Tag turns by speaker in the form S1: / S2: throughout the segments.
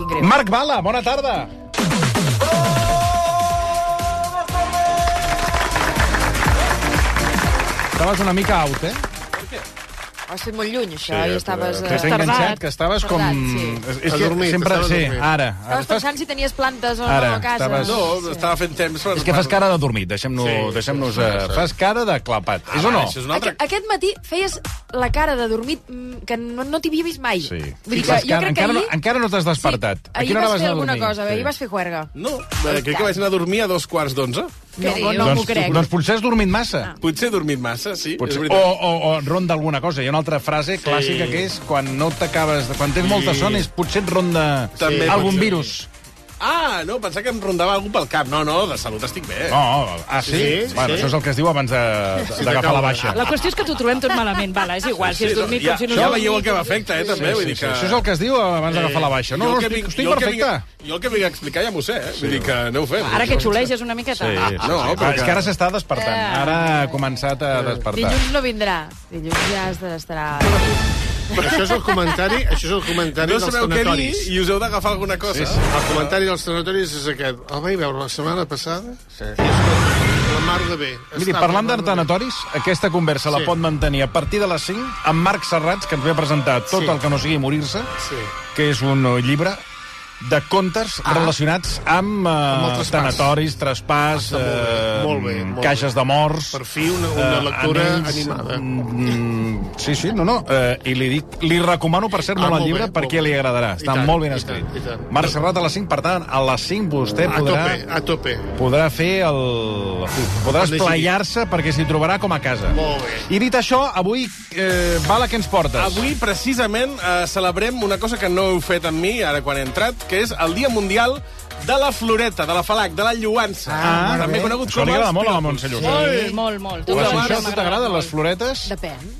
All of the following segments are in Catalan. S1: greu.
S2: Marc Bala, bona tarda. Estaves una mica out, eh?
S1: Ha estat molt lluny, això, sí, i estaves... eh,
S2: Que has enganxat, que estaves com...
S1: Tardat, sí.
S2: És, és que
S3: Adormit,
S2: sempre...
S3: estava
S2: Sí,
S3: adormit.
S2: ara. ara
S1: Estaves pensant si tenies plantes o
S2: Ara,
S1: no a casa.
S2: estaves-
S3: No, estava fent temps... per-
S2: És que fas cara de dormit, deixem-nos...
S3: Sí,
S2: Sí,
S3: sí,
S2: deixem
S3: sí, sí. Ah,
S2: Fas cara de clapat, és o no?
S3: Això és una
S1: Aqu
S3: altra...
S1: aquest matí feies la cara de dormit mm, que no, no t'havia vist mai.
S2: Sí.
S1: Vull dir que
S2: Fas
S1: jo
S2: cara-
S1: crec que
S2: encara,
S1: ahir...
S2: no, encara no t'has despertat.
S1: Sí, ahir vas, fer
S2: anar a
S1: alguna
S2: dormir?
S1: cosa, sí. ahir vas fer juerga.
S3: No, eh, crec que vaig anar a dormir a dos quarts d'onze.
S1: No, no, no m'ho
S2: doncs,
S1: crec. Ah.
S2: doncs potser has dormit massa.
S3: Potser he dormit massa, sí,
S2: Potser.
S3: és
S2: O,
S3: veritat.
S2: o, o ronda alguna cosa. Hi ha una altra frase sí. clàssica que és quan no t'acabes... de- Quan tens molta son és potser et ronda
S3: També
S2: algun
S3: pot ser.
S2: virus.
S3: Ah, no, pensava que em rondava algú pel cap. No, no, de salut estic bé.
S2: No, ah, sí?
S4: Sí,
S2: bueno,
S4: sí.
S2: Això és el que es diu abans de- d'agafar la
S4: Ah.
S2: baixa.
S5: La qüestió és que t'ho trobem tot malament, val, és igual, si has dormit
S3: ja,
S5: com si no
S3: ja
S5: has
S3: veieu el
S5: dormit.
S3: que m'afecta, eh, també. vull dir que...
S2: Això és el que es diu abans d'agafar la baixa. No,
S3: Eh, Jo
S2: no,
S3: el que
S2: estic,
S3: vinc-
S2: estic
S3: jo el que
S2: perfecte.
S3: vinc- Jo el que vinc a explicar ja m'ho sé, eh? Vull dir que aneu fent.
S5: Ara que xuleges una miqueta.
S3: No,
S2: Sí, sí, sí.
S3: però
S2: Ah, És que ara s'està despertant. Ara ha començat a despertar.
S1: Dilluns no vindrà. Dilluns ja estarà...
S4: Això és el comentari, això és el comentari
S3: No
S4: dels
S3: sabeu què dir
S4: tanatoris.
S3: i us heu d'agafar alguna cosa.
S4: Sí, El comentari dels tanatoris és aquest. El vaig veure la setmana passada? Sí. I escolta, la mar de bé.
S2: Miri,
S4: Està
S2: parlant
S4: la mar de bé.
S2: d'antanatoris, aquesta conversa la
S4: Sí.
S2: pot mantenir a partir de les 5 amb Marc Serrats, que ens ve a presentar tot
S4: Sí.
S2: el que no sigui morir-se,
S4: Sí.
S2: que és un eh, llibre de contes ah. relacionats amb, eh,
S4: el traspàs.
S2: tanatoris, traspàs, eh,
S4: Ah, molt bé, molt bé.
S2: caixes de morts...
S4: Per fi una, una
S2: eh,
S4: lectura
S2: anells,
S4: animada.
S2: Mm, sí, sí, no, no. Eh, I li dic, li recomano, per cert,
S4: Ah,
S2: molt el
S4: molt
S2: llibre,
S4: bé,
S2: perquè
S4: molt bé.
S2: li agradarà.
S4: I
S2: Està
S4: tant,
S2: molt ben
S4: i
S2: escrit.
S4: tant, i tant.
S2: Marc Serrat a les 5, per tant, a les 5 vostè
S4: A
S2: podrà
S4: tope, a tope.
S2: podrà fer el... Podrà
S4: Quan
S2: esplayar-se perquè s'hi trobarà com a casa.
S4: Molt bé.
S2: I dit això, avui, eh, Bala, què ens portes?
S3: Avui, precisament, eh, celebrem una cosa que no heu fet amb mi, ara quan he entrat, que és el Dia Mundial de la Floreta, de la Falac, de la Lluança.
S2: Ah,
S3: també
S2: bé.
S3: conegut
S2: Això
S3: com
S2: li agrada
S3: els
S2: molt a la
S3: pilotos.
S2: Montse Lluc.
S5: Sí, molt, molt.
S2: Les
S3: Una
S2: això
S3: mare
S2: sí t'agraden, les floretes?
S1: Depèn.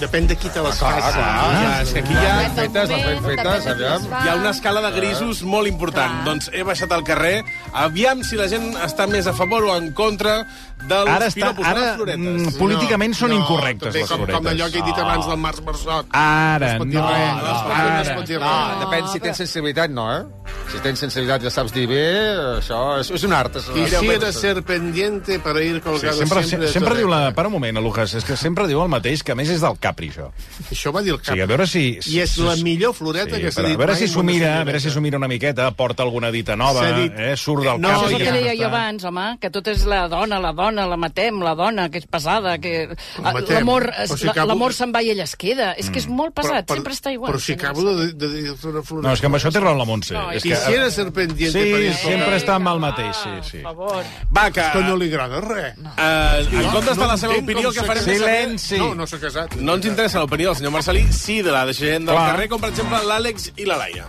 S4: Depèn de qui te les faci.
S3: Ah, és que aquí hi ha...
S1: Fetes, fetes, aviam.
S3: Hi ha una escala de grisos molt important.
S1: Clar.
S3: Doncs he baixat al carrer. Aviam si la gent està més a favor o en contra dels
S2: Ara està-
S3: piropos de
S2: ara,
S3: les floretes.
S2: mm, políticament són incorrectes,
S4: també,
S2: les
S4: com,
S2: floretes.
S4: Com allò que he dit abans del Marc Bersot.
S2: Ara, no,
S4: dir
S2: no,
S4: res,
S3: no es pot
S4: Ara
S2: ara.
S4: no es pot dir
S6: Ah,
S4: res.
S6: depèn si tens sensibilitat, no, eh? Si tens sensibilitat i la saps dir bé, això és, és un art. És
S4: Doncs
S6: un art.
S4: Quisiera ser pendiente para ir
S2: Sí,
S4: colgado
S2: sempre,
S4: siempre
S2: sempre,
S4: de eh?
S2: sempre
S4: tu
S2: diu la...
S4: recta.
S2: Para un moment, Lucas, és que sempre diu el mateix, que a més és del Capri, això.
S4: Això va dir el
S2: O sigui, a
S4: cap.
S2: veure si...
S4: I és la millor floreta que
S2: Sí,
S4: s'ha
S2: però
S4: dit
S2: a veure
S4: mai
S2: si
S4: en
S2: s'ho
S4: una
S2: mira, a
S4: senyoreta.
S2: veure si s'ho mira una miqueta, porta alguna dita nova,
S4: S'ha dit-
S2: eh, surt del
S4: No,
S2: cap.
S5: Això és el
S4: ja
S5: que deia jo
S2: està.
S5: abans, home, que tot és la dona, la dona, la matem, la dona, que és pesada, que eh,
S4: La matem.
S5: l'amor
S4: Però si
S5: la-
S4: acabo-
S5: l'amor se'n va i ella es queda. És que és molt pesat,
S4: per-
S5: sempre està igual.
S4: Però si acabo de, de dir una floreta...
S2: No, és que amb això té raó la Montse.
S5: No,
S2: és que...
S4: Quisiera ser pendiente
S2: Sí,
S4: para ir
S2: sempre
S4: colgado.
S2: està amb el mateix, sí, sí.
S5: Per favor.
S3: Va, que...
S4: Que no li agrada res.
S3: Eh, en comptes de la seva
S4: entenc
S3: opinió,
S4: com
S3: que
S4: s'ha
S3: farem...
S4: casat.
S3: és saber-
S2: Silenci.
S4: No, no s'ha casat.
S3: No ens interessa l'opinió del senyor Marcelí, sí de la de gent del
S2: Clar.
S3: carrer, com per exemple l'Àlex i la Laia.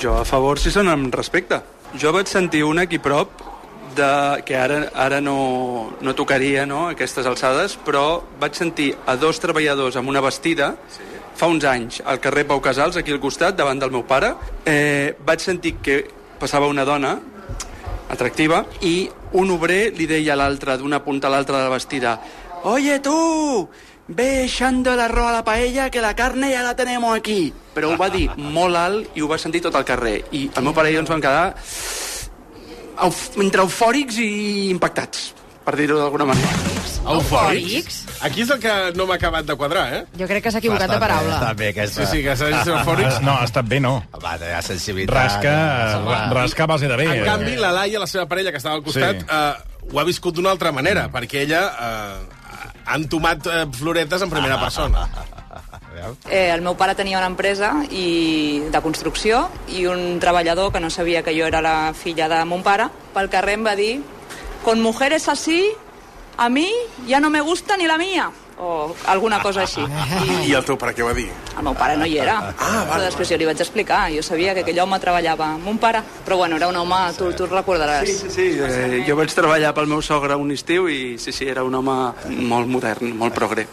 S7: Jo a favor si són amb respecte. Jo vaig sentir un aquí prop de, que ara, ara no, no tocaria no, aquestes alçades, però vaig sentir a dos treballadors amb una vestida sí. fa uns anys al carrer Pau Casals, aquí al costat, davant del meu pare. Eh, vaig sentir que passava una dona atractiva i un obrer li deia a l'altre d'una punta a l'altra de la vestida «Oye, tu! Ve echando el arroz a la paella que la carne ja la tenemos aquí!» Però ho va dir molt alt i ho va sentir tot el carrer. I el meu pare i jo ens vam quedar euf entre eufòrics i impactats, per dir-ho d'alguna manera.
S1: Eufòrics?
S3: Aquí és el que no m'ha acabat de quadrar, eh?
S1: Jo crec que s'ha equivocat de
S2: eh?
S1: paraula.
S6: Està bé, aquesta. Ah,
S3: Sí, sí, que s'ha dit eufòrics.
S2: Ah, No, ha estat bé, no.
S6: Va, de la sensibilitat.
S2: Rasca, ra- rasca a base de bé.
S6: eh,
S3: En canvi, la Laia, la seva parella, que estava al costat,
S2: Sí.
S3: sí. eh, ho ha viscut d'una altra manera, perquè ella eh, ha entomat eh, floretes en primera persona.
S8: Eh, el meu pare tenia una empresa i de construcció i un treballador que no sabia que jo era la filla de mon pare pel carrer em va dir con mujeres así a mi ja no me gusta ni la mía o alguna cosa així. I
S3: I el teu pare què va dir?
S8: el meu pare no hi era. Ah, però després jo li vaig explicar. Jo sabia que aquell home treballava amb mon pare, però bueno, era un home, tu, tu recordaràs.
S7: Sí, sí, sí. Eh, jo vaig treballar pel meu sogre un estiu i sí, sí, era un home molt modern, molt progre.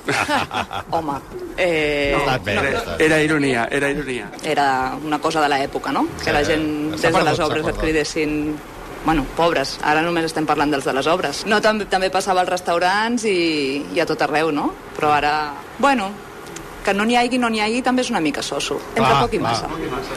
S8: Home, eh,
S7: Era, era ironia, era ironia.
S8: era una cosa de l'època, no? Que
S4: eh,
S8: la gent
S6: S'ha
S8: des de les
S6: perdut, s'ha
S8: obres et
S6: perdut.
S8: cridessin bueno, pobres, ara només estem parlant dels de les obres. No, també, també passava als restaurants i, i a tot arreu, no? Però ara, bueno, que no n'hi hagi, no n'hi hagi, també és una mica soso. Entre
S3: Ah,
S4: Clar,
S8: poc i
S4: clar.
S8: massa.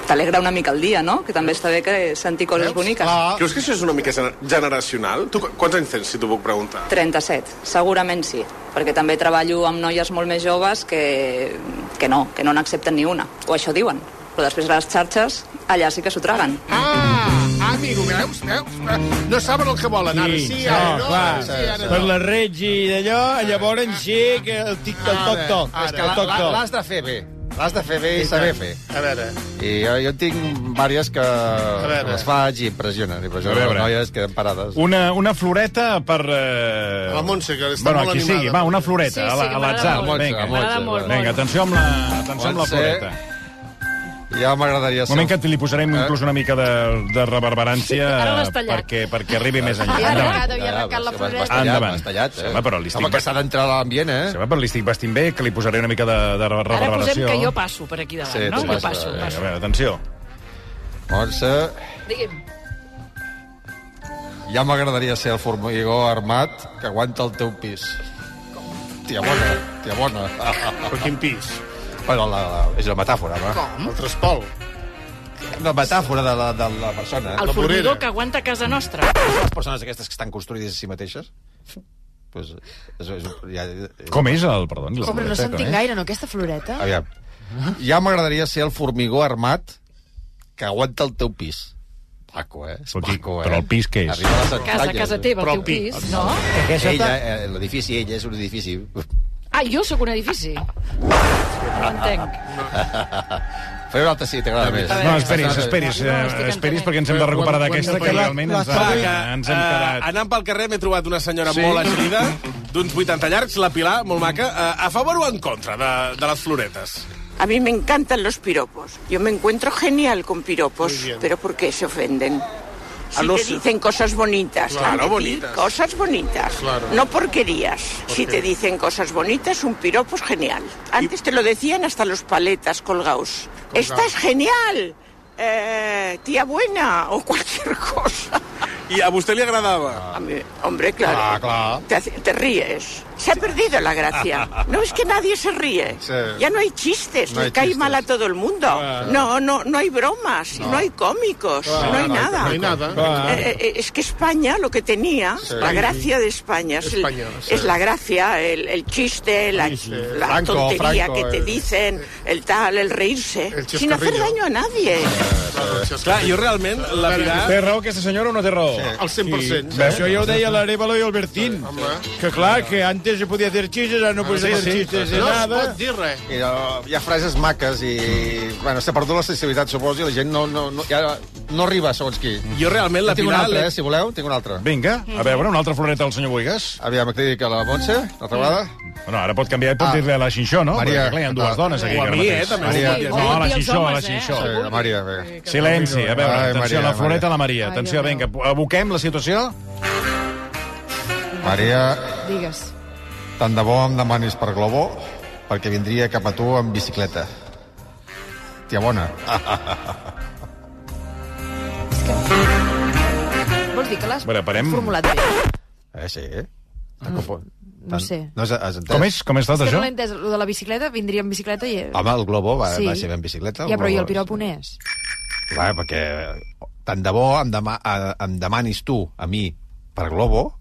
S8: T'alegra una mica el dia, no? Que també està bé que sentir coses boniques.
S4: Clar.
S3: Creus que això és una mica gener- generacional? Tu qu- quants anys tens, si t'ho puc preguntar?
S8: 37, segurament sí, perquè també treballo amb noies molt més joves que, que no, que no n'accepten ni una, o això diuen. Però després a les xarxes, allà sí que s'ho traguen.
S4: Ah, ah, miro, veus, veus? Ah, No saben el que volen, ara sí, ara no, ara sí, ara
S9: Ah, Per
S4: no.
S9: la Regi i d'allò, llavors sí que el
S4: Ah,
S9: tic-toc-toc-toc.
S4: Ara,
S6: És que
S9: El
S6: l'ha- l'ha-
S9: toc-toc.
S6: l'has de fer bé. L'has de fer bé i saber fer.
S4: A veure,
S6: I jo, jo en tinc diverses que
S4: veure.
S6: les faig i impressionen.
S2: A
S6: Impressionen
S2: veure.
S6: les noies, queden parades.
S2: Una, una floreta per... Eh...
S4: A la Montse, que està
S2: bueno,
S4: molt
S2: a qui
S4: animada.
S2: sigui. Va, una floreta,
S1: Sí,
S2: a la-
S1: sí, que
S2: a
S1: m'agrada
S2: l'atzar.
S1: molt.
S2: Vinga,
S1: M'agrada
S6: Montse,
S1: molt,
S2: Vinga,
S1: molt.
S2: atenció amb la, atenció amb la
S6: Montse.
S2: floreta.
S6: Ja m'agradaria
S2: Un moment que li posarem
S6: Eh?
S2: inclús una mica de, de reverberància
S1: Ara l'has tallat.
S2: perquè, perquè arribi més enllà.
S1: Havia
S2: Endavant.
S1: arrencat, havia arrencat la
S6: floreta.
S1: floreta.
S6: Vas tallat,
S2: Endavant.
S6: vas tallat.
S2: Sí, home, però li estic-
S6: Home, que s'ha d'entrar a l'ambient, eh?
S2: Sí, va, però l'estic vestint bé, que li posaré una mica de, de
S5: Ara
S2: reverberació.
S5: posem que jo passo per aquí davant,
S6: Sí,
S5: no?
S6: tu
S5: Jo
S6: passes,
S5: passo,
S6: eh,
S2: A
S5: passo.
S2: veure, atenció.
S6: Montse,
S1: Digui'm.
S6: ja m'agradaria ser el formigó armat que aguanta el teu pis. Tia bona, tia bona.
S4: per quin pis?
S6: Bueno, la, la, és la metàfora, va.
S4: El Traspol.
S6: Una metàfora de la, de la persona.
S5: El
S4: La vorera.
S5: formigó que aguanta a casa nostra.
S6: les persones aquestes que estan construïdes a si mateixes? Pues, és, és, ja,
S2: Com és el... Perdoni, la
S1: Home, no
S2: floreta,
S1: s'entén
S2: com és?
S1: gaire, no, aquesta floreta?
S6: Aviam. Ja m'agradaria ser el formigó armat que aguanta el teu pis. Paco, eh? És
S2: Escolti,
S6: Paco, eh?
S2: però el pis què és?
S6: Arriba a les
S5: Casa,
S6: entranyes.
S5: casa teva, el teu
S4: Propi.
S5: pis, no?
S6: Ella, eh, l'edifici, ella és un edifici.
S5: Ah, jo sóc un edifici. No entenc.
S6: Feu un altre si t'agrada més.
S2: No, esperis, esperis,
S5: No, no,
S2: eh,
S5: estic
S2: esperis
S5: entenent.
S2: perquè ens hem de recuperar
S4: Quan-
S2: d'aquesta
S4: quan-
S2: que
S4: quan-
S2: realment ens, ha,
S3: Va, que,
S2: ens
S3: eh,
S2: hem quedat...
S3: anant pel carrer m'he trobat una senyora molt agilida, d'uns 80 llargs, la Pilar, molt maca. Eh, a favor o en contra de, de les floretes?
S10: A mí me encantan los piropos. Yo me encuentro genial con piropos,
S4: Muy bien.
S10: pero ¿por qué se ofenden? Sí
S3: A los-
S10: te dicen cosas bonitas.
S4: Claro,
S10: a ti,
S3: bonitas.
S10: Cosas bonitas.
S4: Claro.
S10: No porquerías. Si te dicen cosas bonitas, un piropo es genial. Antes te lo decían hasta los paletas colgados. ¡Esta es genial! Eh, tía buena o cualquier cosa.
S3: I a vostè li agradava?
S10: A mí- hombre, claro.
S6: Ah, claro.
S10: Te, hace- te ríes. Se ha perdido la gracia. No es que nadie se ríe.
S6: Sí.
S10: Ya no hay chistes.
S6: No
S10: le
S6: hay
S10: cae
S6: chistes.
S10: mal a todo el mundo. No, no, no hay bromas. No, hay cómicos. no hay nada.
S4: No hay nada.
S10: Eh, eh, es que España lo que tenía, la gracia de España, es, el-
S4: España, sí.
S10: es la gracia, el, el chiste, la, la
S6: Franco,
S10: tontería
S6: Franco,
S10: que te
S6: el-
S10: dicen, el tal, el reírse,
S4: El
S10: sin hacer
S4: chascarrillo.
S10: daño a nadie.
S3: Clar, jo realment, la Pilar...
S9: Té raó aquesta senyora o no té raó?
S4: Al 100%.
S9: Bé, això ja ho deia l'Arevalo i el Bertín. Que clar, que antes se podia fer xistes, ara no podia fer xistes de
S4: Ah, No es
S9: nada.
S4: pot dir res.
S6: I, uh, hi ha frases maques i... Bueno, s'ha perdut tota la sensibilitat, suposo, i la gent no, no, no, ja no arriba, segons qui.
S3: Jo realment la
S6: tinc una
S3: Pilar...
S6: altra, eh, si voleu, tinc una altra.
S2: Vinga, a veure, una altra floreta al senyor Boigas.
S6: Aviam, que dic a la Montse, l'altra vegada.
S2: Bueno, ara pot canviar i pot
S6: Ah.
S2: dir-li a la Xinxó, no?
S6: Maria.
S2: Perquè, clar, hi ha dues
S6: Ah.
S2: dones aquí.
S3: O a
S2: ara
S3: mi, eh,
S2: mateix.
S3: també.
S6: Maria.
S2: No, a la
S5: Vulgui els
S2: Xinxó, a la
S5: homes, eh?
S2: Xinxó.
S6: Sí, la Maria, bé.
S2: Silenci, a veure,
S6: Ai,
S2: atenció,
S6: Maria,
S2: la floreta
S6: Maria.
S2: a la Maria. Atenció, vinga, aboquem la situació.
S6: Maria,
S1: Digues.
S6: tant de bo em demanis per Globo, perquè vindria cap a tu en bicicleta. Tia bona.
S1: Vols dir que l'has
S2: A veure, parem.
S1: formulat bé?
S6: Eh, sí, eh? Tant que fos.
S1: No sé.
S6: No has, has entès?
S2: Com és? Com és tot
S1: És que
S2: això?
S1: no l'he entès. Lo de la bicicleta, vindria en bicicleta i...
S6: Home, el Globo va,
S1: Sí.
S6: va ser en bicicleta.
S1: Ja, però i el
S6: Globo-
S1: piropo on és?
S6: Clar, perquè tant de bo em, dema eh, em demanis tu a mi per Globo,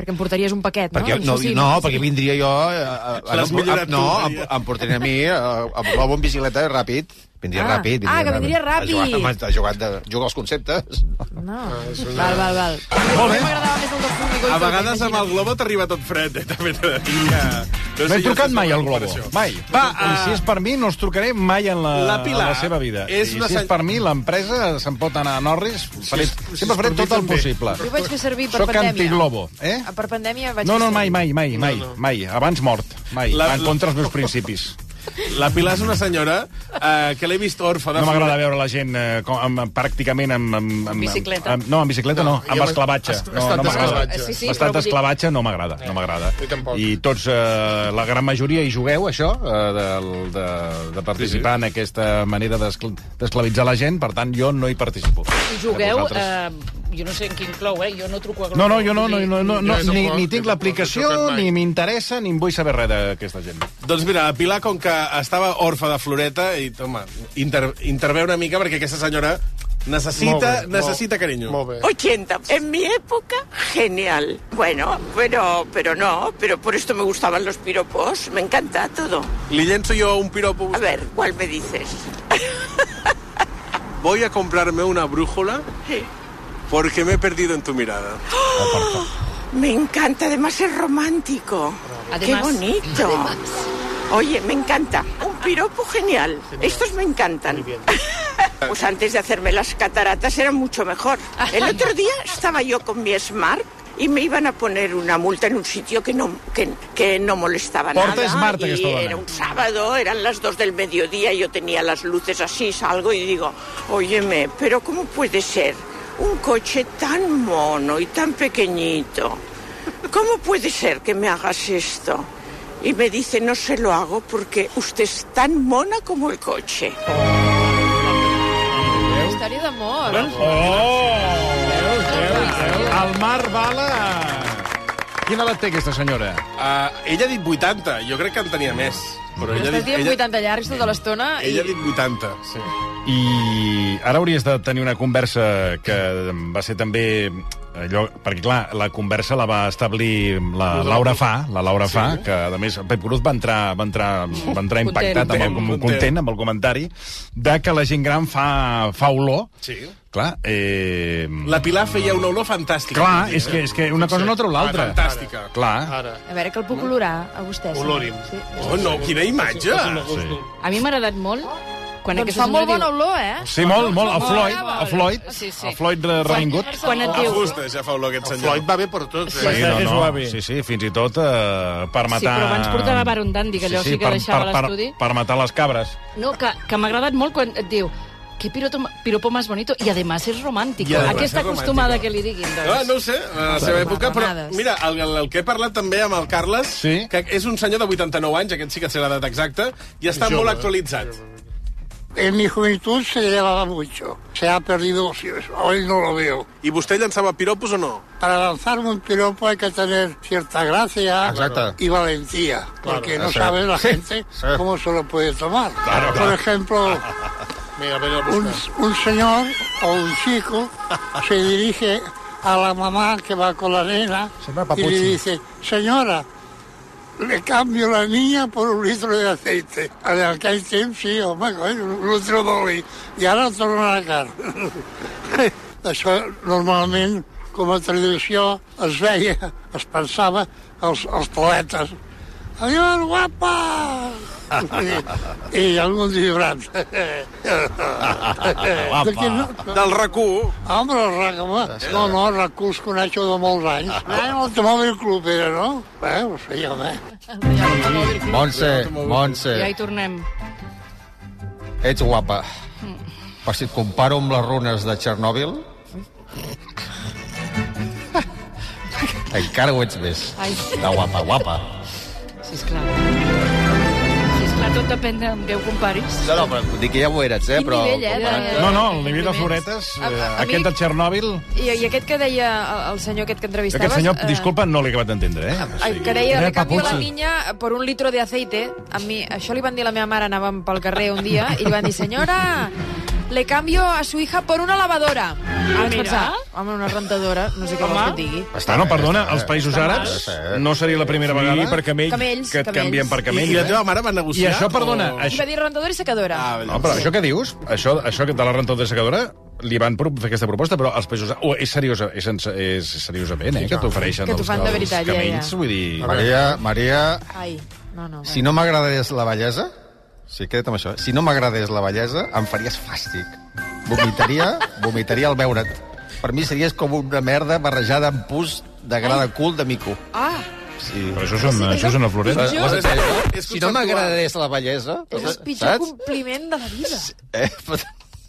S1: Perquè em portaries un paquet,
S6: perquè,
S1: no?
S6: no,
S1: Això sí,
S6: no, perquè vindria jo... Eh, eh,
S3: L'has
S6: em-
S3: millorat
S6: em, no,
S3: tu,
S6: em,
S3: Maria.
S6: em portaré a mi eh, amb Globo en bicicleta ràpid. Vindria
S1: Ah.
S6: ràpid.
S1: Ah, que vindria
S6: Ha
S1: ràpid.
S6: jugat, ha jugat, de, juga els conceptes.
S1: No.
S2: Ah,
S1: Val, val, val. Molt bé. M'agradava més el del formigó. i
S3: A
S1: tot,
S3: vegades amb
S1: imagina't.
S3: el Globo t'arriba tot fred, eh? també t'he de dir que... No
S2: No he
S3: sé jo
S2: trucat
S3: si
S2: mai
S3: és
S2: al
S3: una
S2: Globo.
S3: comparació.
S2: Mai.
S3: Va,
S2: I
S3: ah,
S2: si és per mi, no els trucaré mai en la,
S3: La Pilar
S2: en la seva vida.
S3: és
S2: I
S3: una
S2: si
S3: sen-
S2: és per mi, l'empresa se'n pot anar a Norris. Faré, sempre faré tot el possible.
S1: Jo vaig fer servir per
S2: Soc
S1: pandèmia.
S2: antiglobo, eh?
S1: Ah, Per pandèmia vaig
S2: No, no,
S1: fer servir.
S2: mai, mai, mai, mai, mai. Abans mort, mai.
S3: La-
S2: Va en contra els meus principis.
S3: La Pilar és una senyora eh, que l'he vist orfa de
S2: No
S3: flor-
S2: m'agrada veure la gent eh, com, amb, amb, pràcticament amb... amb, amb, amb
S5: bicicleta.
S2: Amb, no, amb bicicleta no,
S4: jo
S2: amb esclavatge.
S4: est-
S2: No,
S4: estat
S2: no m'agrada.
S4: d'esclavatge.
S5: Sí,
S2: L'estat
S5: sí, però vull dir-
S2: d'esclavatge no m'agrada, no m'agrada.
S4: Jo tampoc.
S2: I tots, eh, la gran majoria, hi jugueu, això, eh, de, de, de participar en aquesta manera d'escl- d'esclavitzar la gent, per tant, jo no hi participo.
S5: Jugueu
S2: Vosaltres-
S5: eh, jo no sé en quin clou, eh? Jo no truco a Globo.
S2: No, no, jo no, no, no, no, no
S3: Jo
S2: ni,
S3: tampoc,
S2: ni tinc
S3: jo tampoc
S2: l'aplicació,
S3: mai.
S2: ni m'interessa, ni em vull saber res d'aquesta gent.
S3: Doncs mira, la Pilar, com que estava orfa de floreta, i, home, inter, interveu una mica perquè aquesta senyora
S4: Molt
S3: necessita,
S4: bé, molt-
S3: necessita carinyo.
S4: molt bé.
S10: 80. En mi época, genial. Bueno, pero, pero no, pero por esto me gustaban los piropos. Me encanta todo.
S3: Li llenço jo un piropo.
S10: A ver, ¿cuál me dices?
S7: Voy a comprarme una brújula
S10: Sí.
S7: porque me he perdido en tu mirada.
S10: Me encanta, además es romántico.
S5: Además.
S10: Qué bonito. Oye, me encanta. Un piropo genial. Estos me encantan. Pues antes de hacerme las cataratas era mucho mejor. El otro día estaba yo con mi Smart y me iban a poner una multa en un sitio que no, que, que no molestaba
S2: Porta
S10: nada.
S2: Smart,
S10: y
S2: aquesta dona.
S10: era un sábado, eran las dos del mediodía, yo tenía las luces así, salgo y digo, óyeme, pero ¿cómo puede ser un coche tan mono y tan pequeñito? ¿Cómo puede ser que me hagas esto? Y me dice, no se lo hago porque usted es tan mona como el coche.
S1: Història d'amor.
S2: oh! El mar bala... Quina edat té aquesta senyora?
S3: Uh, ella ha dit 80, jo crec que en tenia més. Però ella, ha dit,
S1: Estàs dient
S3: ella,
S1: 80 llargs tota l'estona i...
S3: ella ha dit 80, sí.
S2: I ara hauries de tenir una conversa que va ser també allò, perquè clar, la conversa la va establir la Laura Fa, la Laura sí. Fa, que a més Pep Cruz va entrar, va entrar, va entrar impactat amb el, com-
S3: Content.
S2: content amb el comentari de que la gent gran fa, fa olor.
S3: Sí.
S2: Clar, eh...
S3: La Pilar feia una olor fantàstica.
S2: Clar, és que, és que una cosa no treu l'altra.
S3: Ara, fantàstica.
S2: Clar.
S4: Ara.
S1: A veure, que el puc olorar a vostè. sí?
S4: Olorim.
S1: Sí.
S3: Oh, no, quina imatge!
S5: A mi m'ha agradat molt quan
S1: Doncs
S5: aquesta
S1: fa molt
S5: senyora
S1: bona
S5: diu...
S1: olor, eh?
S2: Sí, molt, molt. A
S5: Molt
S2: Floyd,
S5: brava.
S2: a Floyd,
S5: Sí, sí.
S2: a Floyd eh, Reingut.
S5: Quan et diu...
S3: Ajusta, ja fa olor aquest senyor.
S4: Floyd va bé per tots, eh?
S2: Sí,
S9: Bastante
S2: no, no.
S9: suave.
S2: sí, sí, fins i tot eh, per matar...
S5: Sí, però abans portava Baron Dandy, que allò sí que deixava
S2: per,
S5: l'estudi.
S2: Per, per matar les cabres.
S5: No, que, que m'ha agradat molt quan et diu que piropo, piropo más bonito i además és romàntic.
S3: I además
S5: Aquesta
S3: és romàntico.
S5: acostumada que li diguin, doncs.
S3: Ah, no ho sé, a la seva època, però
S1: Marranades.
S3: mira, el, el, el que he parlat també amb el Carles,
S2: Sí.
S3: que és un senyor de 89 anys, aquest sí que té l'edat exacta, i està
S4: Jove.
S3: molt actualitzat.
S11: En mi juventud se llevaba mucho. Se ha perdido, sí, hoy no lo veo.
S3: I vostè llançava piropos o no?
S11: Para lanzar un piropo hay que tener cierta gracia
S6: Ah, Exacto.
S11: y valentía, porque no
S6: exacto.
S11: sabe la
S6: Sí,
S11: gente
S6: sí.
S11: cómo se lo puede tomar. Por ejemplo,
S6: Ah,
S4: Mira, vine a
S11: un,
S4: buscar.
S11: un señor o un chico se dirige a la mamá que va con la nena
S6: Señora
S11: y le
S6: Papuchi.
S11: dice, señora, le cambio la niña por un litro de aceite. En aquell temps, sí, home, coi, un litro d'oli. I ara torna a la carn. Això normalment, com a tradició, es veia, es pensava, els, els paletes. Adiós, guapa! I algun vibrant. Perquè no,
S3: Del RAC1.
S11: Home, el RAC, home. No, no, el RAC us coneixo de molts anys. Anàvem al Automòbil Club, era, no? Bé, ho sé, home.
S6: Montse, Montse,
S5: Ja hi tornem.
S6: ets guapa. Però si et comparo amb les runes de Txernòbil... encara ho ets més.
S5: Ai.
S6: De guapa, guapa.
S5: Sí, esclar. Sí, esclar, tot depèn de amb què ho comparis.
S6: No, no, però vull dir que ja ho eres, eh?
S1: Quin
S6: però...
S1: nivell, eh, de-
S2: No, no, el nivell de floretes,
S1: A-
S2: eh,
S1: a- a mi-
S2: aquest de Txernòbil...
S1: I, I aquest que deia el, el senyor aquest que entrevistaves...
S2: Aquest senyor,
S1: eh,
S2: disculpa, no l'he acabat d'entendre, eh?
S1: Ai, que deia, de
S2: Era
S1: canvi la
S2: paputxo.
S1: niña per un litro de aceite. A mi, això li van dir a la meva mare, anàvem pel carrer un dia, i li van dir, senyora, le cambio a su hija por una lavadora. I vaig
S5: mira.
S1: pensar, home, una rentadora, no sé què vols que et digui.
S2: Està, Ah, no, perdona, als països àrabs
S6: bé.
S2: no seria la primera
S9: Sí,
S2: vegada
S9: per camells.
S1: Camells,
S2: que et
S1: camells.
S2: canvien per
S3: I la
S2: camells.
S3: teva mare va
S2: I
S3: negociar?
S2: això, perdona,
S1: I
S2: això,
S1: va dir rentadora i secadora.
S3: Ah, vale.
S2: no, però això que dius, això, això que de la rentadora secadora, li van pro- fer aquesta proposta, però els països... Oh, és, seriosa, és, sens- és seriosament, eh, que t'ofereixen
S1: Que t'ho
S2: els,
S1: fan de
S2: els
S1: veritat, ja, ja.
S2: camells. Vull dir...
S6: Maria, Maria,
S1: Ai, no, no.
S6: si no m'agradés la bellesa... Sí, queda't amb això. eh? Si no m'agradés la bellesa, em faries fàstic. Vomitaria, vomitaria al veure't. Per mi series com una merda barrejada amb pus de gra de cul de mico.
S1: Ah,
S6: Sí.
S2: Però això és una, això és una floreta.
S1: Jo-
S6: Ho has entès, no?
S3: És
S6: Si no m'agradés la bellesa...
S1: és el pitjor compliment de la vida.
S6: Eh?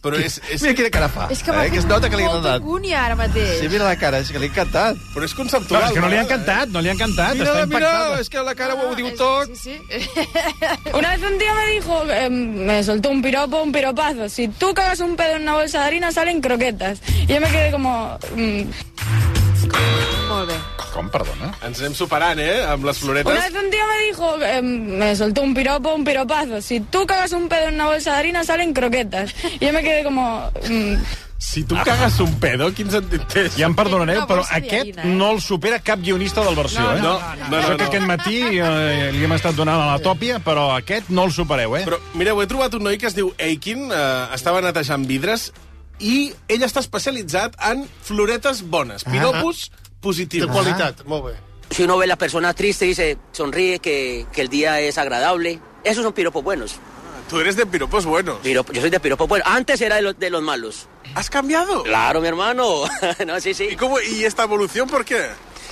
S3: Però és... és...
S6: Mira quina cara fa.
S1: Ah, És que m'ha
S6: eh? que
S1: fet
S6: es nota que li ha
S1: molta
S6: agradat.
S1: angúnia ara mateix.
S6: Sí, mira la cara, és que li ha encantat.
S3: Però és
S2: Clar,
S3: conceptual.
S2: és que no li han cantat, no li han cantat.
S6: Mira,
S2: està
S6: mira,
S2: impactada.
S6: és que la cara
S1: Ah,
S6: ho diu
S12: es-
S6: tot. Eh.
S12: Sí, sí. Una vez un tío me dijo, eh, me soltó un piropo, un piropazo. Si tú cagas un pedo en una bolsa de harina, salen croquetas. Y yo me quedé como... mm.
S1: Molt bé.
S2: Com, perdona?
S3: Ens anem superant, eh, amb les floretes.
S12: Una vez un tío me dijo, eh, me soltó un piropo, un piropazo. Si tú cagas un pedo en una bolsa de harina, salen croquetas. Y yo me quedé como... mm.
S3: Si tu cagues un pedo, quin sentit té?
S2: Ja em perdonareu,
S12: Una
S2: però
S12: bolsa de
S2: aquest
S12: harina, eh?
S2: no el supera cap guionista del versió,
S3: No,
S2: eh?
S3: no, no, no,
S2: Això
S3: no,
S2: que
S3: no.
S2: aquest matí eh, li hem estat donant a la tòpia, però aquest no el supereu, eh?
S3: Però, mireu, he trobat un noi que es diu Aikin, eh, estava netejant vidres, i ell està especialitzat en floretes bones,
S2: Ah.
S3: piropos positius.
S1: Ah.
S4: De qualitat, molt bé.
S13: Si uno ve a la persona triste, dice, sonríe, que, que el día es agradable. Esos son piropos buenos.
S3: Tu Ah, eres de piropos buenos.
S13: Piropo- yo soy de piropos buenos. Antes era de los, de los malos.
S3: ¿Has cambiado?
S13: Claro, mi hermano. no, sí, sí.
S3: ¿Y, cómo, ¿Y esta evolución por qué?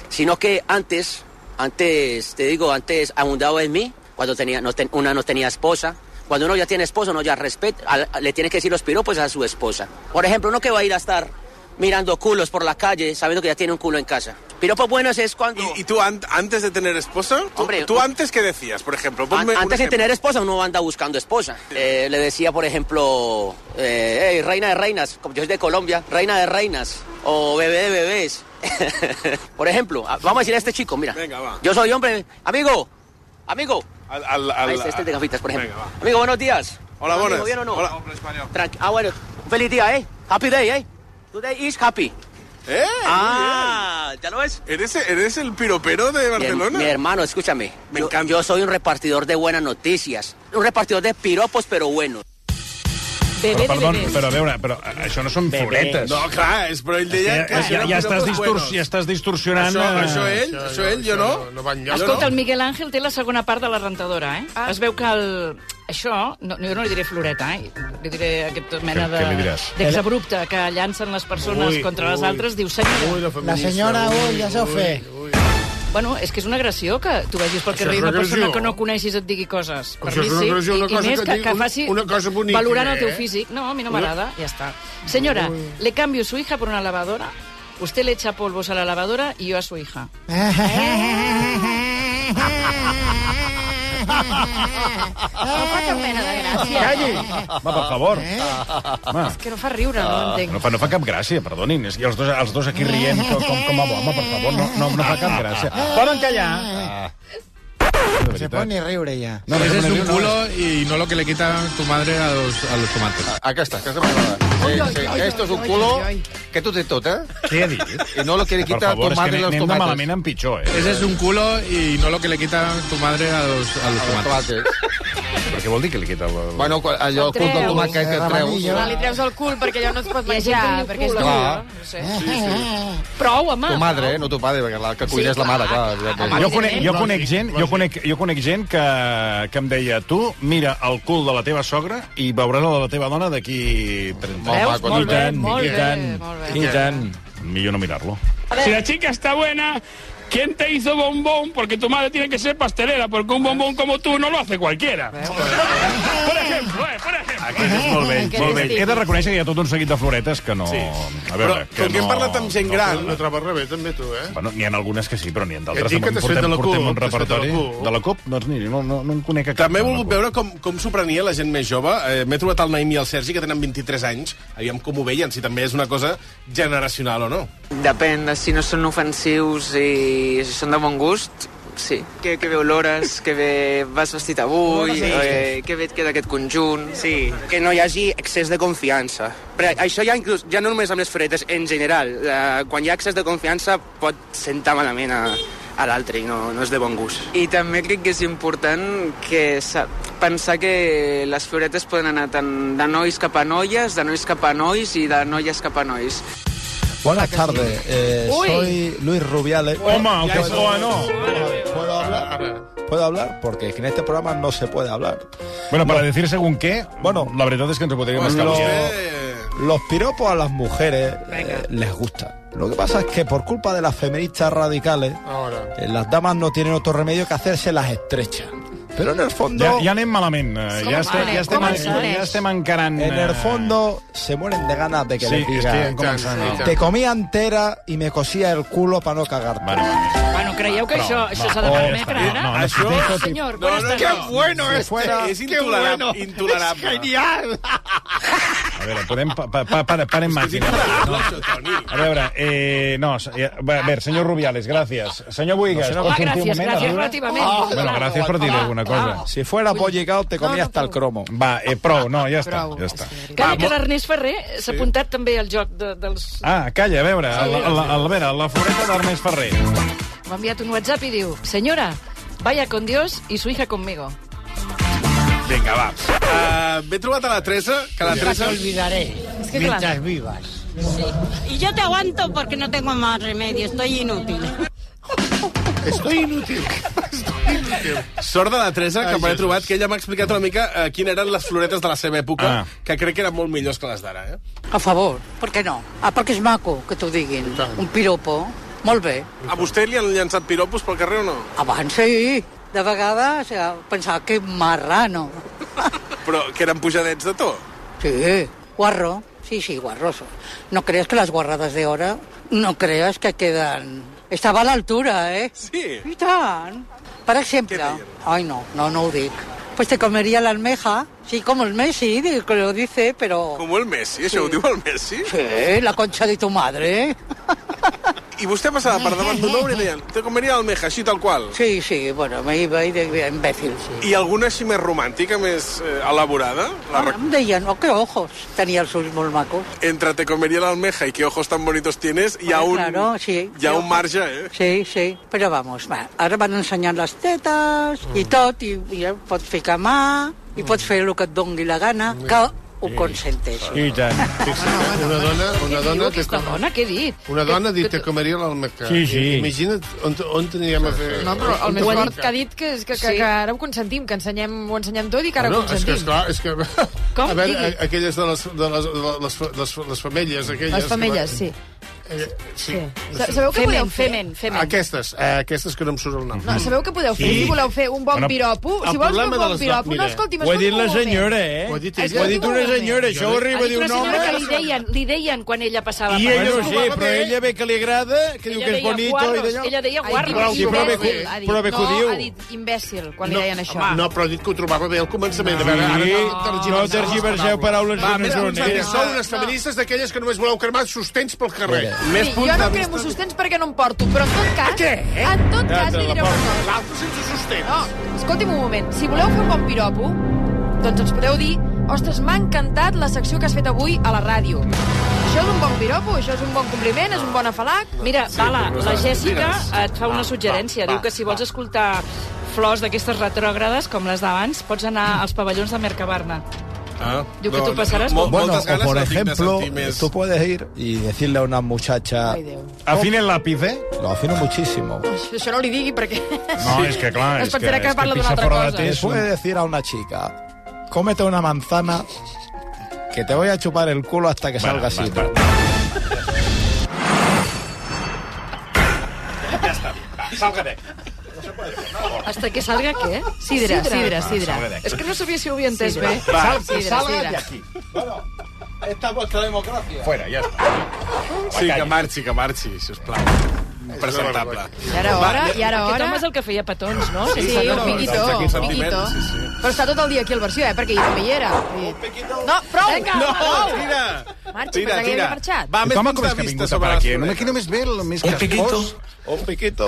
S13: Sino que antes, antes, te digo, antes abundaba en mí. Cuando tenía, no ten- una no tenía esposa. Cuando uno ya tiene esposa, uno ya respeta, al- le tiene que decir los piropos a su esposa. Por ejemplo, uno que va a ir a estar mirando culos por la calle, sabiendo que ya tiene un culo en casa. Piropos buenos es cuando...
S3: ¿Y tú an- antes de tener esposa? ¿Tú,
S13: Hombre,
S3: tú antes qué decías, por ejemplo?
S13: An-
S3: Ponme un
S13: Antes de
S3: ejemplo.
S13: tener esposa, uno anda buscando esposa. Eh, le decía, por ejemplo, eh, "Ey, reina de reinas, como yo soy de Colombia, reina de reinas, o bebé de bebés. por ejemplo, a- vamos a decir a este chico, mira,
S3: Venga, va.
S13: yo soy hombre, amigo, amigo,
S3: Al- al- al-
S13: Ahí está, este de gafitas, por ejemplo.
S3: Venga, va.
S13: amigo, buenos días.
S3: Hola,
S13: Amigo,
S3: buenas.
S13: ¿Bien o no?
S3: Hola.
S13: Tranqui- ah, bueno, feliz día, ¿eh? Happy day, ¿eh? Today is happy.
S3: ¡Eh!
S13: Ah, ¿ya lo ves?
S3: ¿Eres, ¿Eres el piropero de
S13: Mi her-
S3: Barcelona?
S13: Mi, hermano, escúchame.
S3: Me
S13: yo,
S3: encanta.
S13: yo soy un repartidor de buenas noticias. Un repartidor de piropos, pero bueno.
S2: Però, perdó, però a veure, però eh, això no són floretes.
S3: No, clar, és, però ell deia...
S2: Ja,
S3: que
S2: ja,
S3: eren
S2: ja,
S3: piropos
S2: estàs distors,
S3: buenos.
S2: ja estàs distorsionant...
S3: Això,
S2: eh,
S3: això ell, això, ell, jo no.
S4: No, no va enlloc.
S5: Escolta, el Miguel Ángel té la segona part de la rentadora, eh? Ah. Es veu que el... Això, no, jo no li diré floreta, eh? Li diré aquesta mena
S2: Què-
S5: de...
S2: què li diràs?
S5: D'exabrupte que llancen les persones
S4: Ui,
S5: contra les
S4: ui.
S5: altres. Diu, senyora...
S4: Ui,
S14: La
S4: feminista,
S14: senyora, ui, ja s'ho fe.
S5: Bueno, és que és una agressió que tu vagis pel
S4: Això
S5: carrer
S4: és
S5: i una
S4: una agressió.
S5: persona que no coneixis et digui coses. Per
S4: Això
S5: mi
S4: és una
S5: sí,
S4: agressió, una
S5: i,
S4: cosa
S5: i més
S4: que
S5: que,
S4: digui
S5: que
S4: un-
S5: faci
S4: una cosa boníssima,
S5: valorant el teu
S4: eh?
S5: físic. No, a mi no
S4: Una-
S5: m'agrada, ja està. Senyora, le cambio su hija por una lavadora, usted le echa polvos a la lavadora y yo a su hija.
S6: Ah.
S1: No fa cap mena de gràcia.
S2: Calli! Va, per favor. Va.
S1: És que no fa riure,
S6: Ah,
S1: no ho entenc.
S2: No fa, no fa cap gràcia, perdonin. És que els dos, els dos aquí rient com, com, com a bomba, per favor. No, no, no fa
S3: Ah,
S2: cap gràcia. Poden callar. De
S14: Ah. Se
S2: veritat.
S14: pone a riure ja.
S2: No, no, no, no.
S15: y no lo que le quita tu madre a los, a los tomates.
S6: Ah, Acá está, acá se me acaba. Sí, sí. Esto es un culo que tú te tota.
S2: Què ha dit?
S6: Y no lo quiere
S2: Per
S6: quitar
S2: favor,
S6: tu
S2: és que
S6: madre
S2: anem,
S6: los
S2: anem de
S6: tomates.
S2: malament en pitjor, eh?
S15: Ese es un culo y no lo que le quita tu madre a los, a los tomates.
S6: Los tomates.
S2: Però què vol dir que li quita el...
S6: Bueno, ah, quan- allò, el cul del
S1: Treus.
S6: tomàquet que treus.
S1: Clar, li treus el cul perquè allò no es pot
S5: Hi ha gent
S1: menjar,
S5: que en diu
S1: perquè és
S5: cul,
S1: dur.
S6: Clar.
S1: No sé.
S5: Prou, home!
S6: Tu madre, eh, no tu padre, perquè la que cuina és la mare, clar.
S2: jo conec, jo conec gent, jo conec, jo conec gent que, que em deia tu mira el cul de la teva sogra i veuràs el de la teva dona d'aquí 30
S6: Molt Veus? maco, Molt
S2: I
S6: bé,
S2: tant,
S5: molt
S2: i
S5: bé,
S2: tant,
S5: molt
S2: i tant. Millor no mirar-lo.
S16: Si la chica está buena, ¿quién te hizo bombón? Porque tu madre tiene que ser pastelera, porque un bombón como tú no lo hace cualquiera. Por ejemplo, eh, por ejemplo.
S2: Aquest és molt vell,
S16: Aquest
S2: molt
S16: és
S2: vell.
S16: típic.
S2: He de reconèixer que hi ha tot un seguit de floretes que no...
S3: Sí.
S2: A veure,
S3: Però, com que hem parlat amb gent gran...
S4: La trobes rebé, també, tu, eh?
S2: Bueno, n'hi ha algunes que sí, però n'hi ha d'altres.
S4: Et dic que t'has fet de la CUP,
S2: portem un
S4: t'has fet de la
S2: repertori.
S4: CUP.
S2: De la CUP? Doncs mira, no, no, no en conec a cap.
S3: També he
S2: de la
S3: volgut
S2: CUP.
S3: veure com, com s'ho prenia la gent més jove. Eh, M'he trobat el Naim i el Sergi, que tenen 23 anys. Aviam com ho veien, si també és una cosa generacional o no.
S17: Depèn de si no són ofensius i si són de bon gust, sí. Que, que bé olores, que bé vas vestit avui,
S13: Sí.
S17: sí. eh, que bé et queda aquest conjunt... Sí.
S13: Que no hi hagi excés de confiança. Però això ja, inclús, ja no només amb les floretes, en general. Eh, quan hi ha excés de confiança pot sentar malament a, a l'altre i no, no és de bon gust.
S17: I també crec que és important que sa- pensar que les floretes poden anar tant de nois cap a noies, de nois cap a nois i de noies cap a nois.
S14: Buenas tardes, eh,
S17: Uy.
S14: soy Luis Rubiales.
S2: Oma,
S14: Puedo-
S2: aunque sea, no.
S14: ¿Puedo
S3: Ah,
S14: hablar? ¿Puedo hablar? Porque en este programa no se puede hablar.
S2: Bueno, para decir según qué, bueno, la veritat és que ens ho podríem estar
S14: Lo-
S2: buscant.
S14: Los piropos a las mujeres eh, les gusta. Lo que pasa es que por culpa de las feministas radicales,
S4: Ahora.
S14: eh, las damas no tienen otro remedio que hacerse las estrechas. Pero en el fondo...
S2: Ja, ja anem malament. eh, Ja, està, ja, estem, ja estem encarant...
S14: En el
S2: eh,
S14: fondo se mueren de ganas de que
S2: Sí,
S14: les diga.
S2: estic començant, no?
S14: Te comía entera y me cosía el culo para no cagarte.
S5: Bueno, creieu que això, això s'ha de
S14: no,
S5: permetre,
S14: no,
S5: Anna?
S9: Ah,
S14: no, no, Això- sí, sí.
S5: Senyor,
S14: No,
S5: buenas
S14: no,
S5: tardes.
S14: qué bueno Si este, fuera-
S3: es intolerable, intolerable.
S5: Es genial.
S2: A veure, podem... Pa, pa, pa, pa, parem màquina. No. A veure, eh, no, se- ja- a veure, senyor Rubiales, gràcies. Senyor Buigas,
S14: No,
S2: pot sortir
S14: gràcies,
S2: un moment?
S14: gràcies,
S2: a veure?
S14: relativament. Ah,
S2: Bueno, gràcies per dir alguna cosa.
S14: Si fuera pollicao, te comías hasta el cromo.
S2: Va, eh, prou, no, ja està, ja està. Ah,
S5: Calla, que
S2: mo-
S5: l'Ernest Ferrer s'ha apuntat també al joc de, dels...
S2: Ah, calla, a veure,
S5: Sí,
S2: la, la, la, a veure, la floreta d'Ernest Ferrer.
S5: M'ha enviat un WhatsApp i diu, senyora, vaya con Dios y su hija conmigo.
S3: Vinga, va. Uh, M'he trobat a la Teresa, que la
S18: Nunca te
S3: Teresa...
S18: olvidaré
S3: Es que
S18: mientras
S3: claro.
S18: vivas. Y yo te aguanto porque no tengo más remedio, estoy inútil.
S3: Estoy inútil. Sort de la Teresa, que
S18: Ai,
S3: m'he
S18: Jesús.
S3: trobat, que ella m'ha explicat una mica eh, quines eren les floretes de la seva època,
S18: Ah.
S3: que crec que eren molt millors que les d'ara, eh?
S18: A favor, ¿por qué no? Ah, porque es maco que t'ho diguin. Un piropo, molt bé.
S3: A vostè li han llançat piropos pel carrer o no?
S18: Abans sí, de vegades o sea, pensava que marrano.
S3: Però que eren pujadets de to.
S18: Sí, guarro, sí, sí, guarroso. No creas que las guarradas de ahora, no creas que quedan... Estava a l'altura, eh?
S3: Sí.
S18: I tant. Per exemple, ay no, no, no ho dic. Pues te comería la almeja, sí, como el Messi, digo, que lo dice, pero...
S3: Com el Messi, això ho diu el Messi?
S18: Sí, la concha de tu madre.
S3: I vostè passava per davant d'un obra i deien, te comeria l'almeja, així tal qual.
S18: Sí, sí, bueno, me iba y de imbécil, sí.
S3: I alguna així més romàntica, més eh, elaborada? La rec...
S18: Em deien, oh, que ojos, tenia els ulls molt macos.
S3: Entre te comeria l'almeja i que ojos tan bonitos tienes, hi ha un,
S18: Claro, sí.
S3: hi ha un marge, eh?
S18: Sí, sí, però vamos, va. ara van ensenyant les tetes mm. i tot, i, i ja pots ficar mà,
S3: Mm.
S18: i pots fer el que et doni la gana, que ho consentes.
S2: I tant.
S4: Una dona, una dona... Te com...
S5: Dona, què he dit?
S4: Una dona ha dit que comeria l'almeca.
S2: Sí, sí.
S4: Imagina't on, on aniríem a fer...
S1: No, però el
S4: on
S1: més
S4: es
S1: fort
S4: marca.
S1: que ha dit que, és que, que,
S4: Sí.
S1: que ara ho consentim, que ensenyem, ho ensenyem tot i que ara ho
S4: no, és que,
S1: consentim.
S4: esclar, és que...
S1: Com?
S4: A veure,
S1: Digui.
S4: a- aquelles de les, de les, de les, les, les femelles, aquelles...
S1: Les
S4: que
S1: femelles,
S4: van-
S1: sí.
S4: Eh, sí.
S1: Sa- Sabeu que podeu fer?
S4: Aquestes, eh, aquestes que no em surt el nom.
S1: No, sabeu que podeu fer,
S4: Sí.
S1: si voleu fer un bon
S4: Bueno,
S1: piropo,
S4: el
S1: si vols fer
S4: problema
S1: un
S4: de
S1: bon
S4: les do-
S1: piropo,
S4: mira,
S1: no, escolti'm,
S9: ho ha dit
S1: escolta'm
S9: la
S1: un moment.
S9: senyora, eh?
S4: Ho ha dit
S9: Ho ha dit una senyora, això ho arriba a dir un home...
S5: Que li deien, li deien quan ella passava
S9: I
S5: per
S9: ella
S5: la
S9: sí,
S5: rua.
S9: però ella ve que li agrada, que diu
S5: Ella
S9: que és
S5: deia
S9: bonito...
S5: guarros,
S9: i d'allò.
S5: ella deia
S9: Ha dit
S5: guarros.
S9: Però, sí, però, ve,
S1: Imbècil, ha dit.
S9: però ve que ho
S1: No,
S9: diu.
S1: ha dit imbècil quan li deien això.
S4: No, però ha dit que ho trobava bé al
S9: No.
S4: començament. A veure, ara
S9: Sí,
S4: no tergiverseu
S9: no tergiverseu
S4: les
S9: paraules
S4: Va,
S9: que no
S4: més
S9: són,
S4: punts de
S9: eh?
S4: vista. Sou unes feministes d'aquelles que només voleu cremar sostens pel carrer.
S1: Més jo no cremo sostens perquè no em porto, però en tot cas... Què? En tot
S4: Ja
S1: cas
S4: te
S1: li
S4: la
S1: diré una
S4: porto.
S1: cosa.
S4: L'altre sense sostens.
S1: No, escolti'm un moment. Si voleu fer un bon piropo, doncs ens podeu dir ostres, m'ha encantat la secció que has fet avui a la ràdio. Això és un bon piropo, això és un bon compliment, és un bon afalac.
S5: Mira,
S1: Sí,
S5: Bala,
S1: però no
S5: la
S1: saps.
S5: Jèssica
S1: Digues.
S5: et fa una suggerència. Diu que si vols escoltar flors d'aquestes retrògrades, com les d'abans, pots anar als pavellons de Mercabarna.
S3: Ah,
S5: Diu que tu passaràs
S3: Mol,
S14: Bueno,
S3: moltes
S14: o
S3: ganes
S14: por
S3: no tinc de
S14: ejemplo,
S3: sentir més.
S14: tú puedes ir y decirle a una muchacha...
S2: Afina el lápiz, ¿eh?
S14: Lo afino muchísimo.
S1: Això no li digui perquè...
S14: No, es que claro,
S1: Es
S14: es
S1: pensarà
S14: que-
S1: que,
S14: es que
S1: parla d'una
S14: pisa
S1: altra
S14: fora de
S1: cosa.
S14: ti. Puede decir a una chica, cómete una manzana que te voy a chupar el culo hasta que salga así.
S2: Ja està. Va, Salga de.
S5: Hasta que salga què?
S1: Sidra,
S2: Ah,
S1: sidra,
S5: sidra.
S1: sidra.
S5: És que no sabia si ho havia entès
S14: Sidra.
S5: bé.
S14: Va,
S5: Sidra,
S14: salga
S5: sidra.
S14: de aquí. Bueno, esta es vuestra democracia.
S2: Fuera, ja està.
S3: Sí, que marxi, que marxi, sisplau. Impresentable.
S1: I ara hora, i ara
S5: Aquest
S1: hora...
S5: home és el que feia petons, no?
S1: Sí, doncs
S5: Que
S1: un
S5: s'adorava.
S1: piquito, un piquito. Però està tot el dia aquí al versió, eh? Perquè jo també hi era. No, prou!
S18: Vinga,
S1: no,
S18: prou!
S1: Tira! Marxi, pensava
S18: Tira,
S1: que havia
S18: tira.
S1: marxat.
S3: Va,
S2: I
S3: més
S2: com
S3: punts de
S2: acabes que ha
S3: vista
S2: vingut
S3: sobre
S2: per
S3: les
S2: aquí? eh? No,
S3: floretes.
S2: aquí només ve el més
S3: Un
S2: cascós.
S3: piquito.
S14: Un piquito.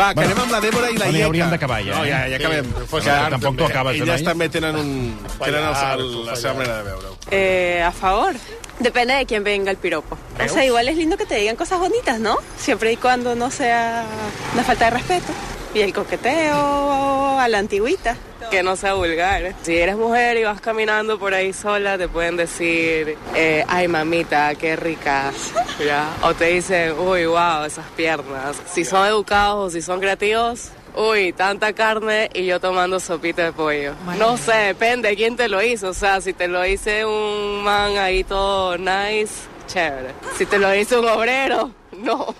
S3: Va, que anem amb la Débora i la
S2: bueno,
S3: Ieka.
S2: ja hauríem d'acabar, ja,
S3: No,
S2: eh?
S3: ja, ja acabem.
S2: Sí,
S3: Fos
S2: que
S3: tard,
S2: tampoc
S3: també.
S2: tu acabes, eh,
S3: Elles
S2: Eloi.
S3: també tenen, un, tenen el, el, la seva manera de veure-ho.
S19: Eh, a favor. Depende de quién venga el piropo. O sea, igual es lindo que te digan cosas bonitas, ¿no? Siempre y cuando no sea una falta de respeto. Y el coqueteo a la antigüita.
S20: Que no sea vulgar. Si eres mujer y vas caminando por ahí sola, te pueden decir, eh, ay mamita, qué rica. ¿ya? O te dicen, uy, wow, esas piernas. Si son educados o si son creativos, uy, tanta carne y yo tomando sopita de pollo. No sé, depende de quién te lo hizo. O sea, si te lo dice un man ahí todo nice, chévere. Si te lo dice un obrero, no.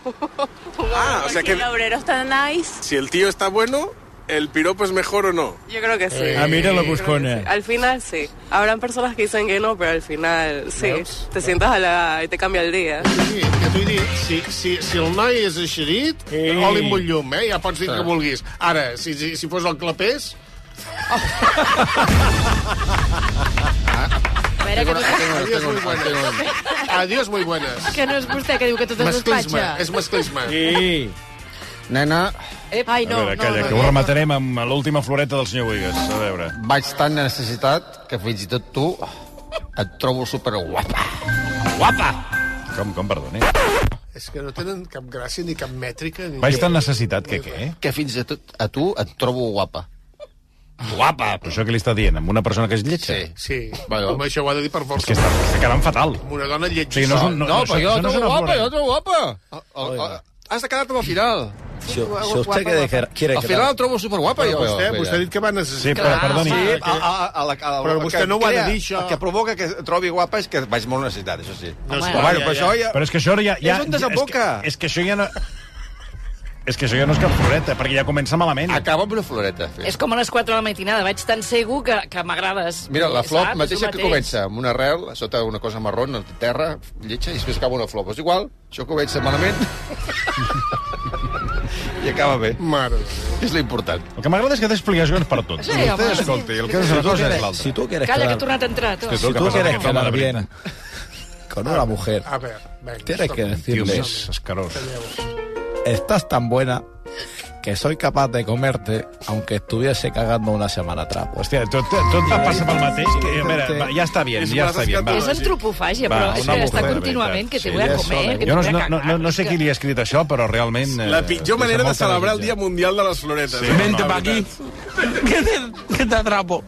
S3: Ah, o sea que
S19: obrero está nice.
S3: si el tío está bueno, ¿el piropo es mejor o no?
S20: Yo creo que sí.
S3: Eh, ah, mira la
S20: Yo creo que
S3: buscona.
S20: sí. Al final sí. Habrán personas que dicen que no, pero al final sí. Te sientas a la... y te cambia el día.
S4: Que t'ho he dit, si, si, si el noi és eixerit, Ei. oli amb un llum, eh? Ja pots dir
S3: Sí.
S4: que vulguis. Ara, si, si, si fos el clapés...
S21: veure, que no-
S4: Adiós, muy buenas. Adiós, muy buenas.
S21: Que no és vostè que diu que tot es
S4: Masclisme,
S21: despatxa.
S4: és masclisme.
S2: Sí.
S6: Nena,
S21: Ai, no,
S2: a veure,
S6: no,
S2: calla,
S6: no,
S2: que
S6: no.
S2: ho rematarem amb l'última floreta del senyor Boigas. A veure.
S6: vaig tan necessitat que fins i tot tu et trobo superguapa. Guapa!
S2: Com, com, perdoni?
S4: És que no tenen cap gràcia ni cap mètrica. Ni
S2: Vaig tan necessitat que què?
S6: Que fins i tot a tu et trobo guapa.
S2: Guapa! Però això què li està dient? Amb una persona que és lletja? Sí.
S4: Sí, bueno. home, això ho ha de dir per força.
S2: És que està, està quedant fatal.
S4: Amb Una dona lletjosa.
S2: Sí, no és un-
S6: No, però jo
S2: això
S6: la
S2: no és
S6: trobo
S2: una
S6: guapa,
S2: flor.
S6: jo la trobo guapa. El- el- Has de quedar-te amb el final.
S14: Si, si usted quiere, quiere,
S6: Al final el trobo superguapa, jo.
S4: Vostè,
S6: Mira.
S4: vostè ha dit que va necessitar...
S6: Sí, a, a, a, la, a, la-
S4: Però
S6: el
S4: vostè
S6: que
S4: no ho ha de
S6: crea-
S4: dir, això.
S6: El que provoca que es trobi guapa és que vaig molt necessitat, això sí.
S4: No, sí,
S6: però, bueno, però
S4: ja, ja.
S6: això ja...
S2: Però és que això ara ja... ja
S6: És on desemboca.
S2: És que, és que això ja no... És que això ja no és cap floreta, perquè ja comença malament.
S6: Acaba amb una floreta. Fes.
S5: És com a les 4 de la matinada, vaig tan segur que, que m'agrades.
S6: Mira, la flor
S5: Saps?
S6: mateixa
S5: És el
S6: que
S5: mateix.
S6: comença amb una arrel, a sota una cosa marró, en terra, lletja, i després acaba una flor. Però és igual, això comença malament... I acaba bé.
S4: Mare.
S6: És l'important.
S2: El que m'agrada és que té explicacions per tot.
S5: Sí, home,
S2: Vostè,
S5: sí.
S2: escolti, el que
S14: Si
S2: és una
S14: tu
S2: cosa
S14: quieres-
S2: és l'altra.
S14: si tu quieres
S5: Calla, que
S14: quedar-
S5: ha tornat a entrar. tu.
S2: És que és
S14: Si
S2: el que
S14: tú
S2: passa
S14: quieres
S2: amb aquest
S14: quedar
S2: home de
S14: bien con una mujer,
S4: A ver, venga.
S14: tienes que decirle...
S2: Dios, escarós.
S14: Estás tan buena que soy capaz de comerte aunque estuviese cagando una semana atrás.
S2: Hòstia, tot, tot em passa pel mateix. Que, a veure, va, ja està bé, ja està bé. Va,
S5: És antropofàgia,
S2: Va,
S5: però és
S2: una
S5: que està
S2: mujer, de
S5: contínuament
S2: veritat.
S5: que te
S2: Sí,
S5: voy a
S2: ja
S5: comer,
S2: sona.
S5: que te
S2: Jo no,
S5: voy a
S2: no,
S5: cagar.
S2: no, no, no sé qui li ha escrit això, però realment... eh,
S3: La pitjor manera de celebrar el Dia Mundial de ¿eh? les Floretes.
S2: Sí, Vente no, pa
S3: aquí.
S16: Que te, que te atrapo.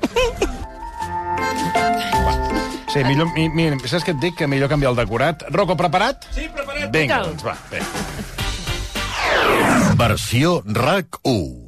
S2: Sí, millor, mi, mi, saps què et dic? Que millor canviar el decorat. Rocco, preparat?
S16: Sí,
S2: doncs
S16: preparat.
S2: Vinga,
S16: Total.
S2: doncs va, bé.
S22: Versió RAC 1.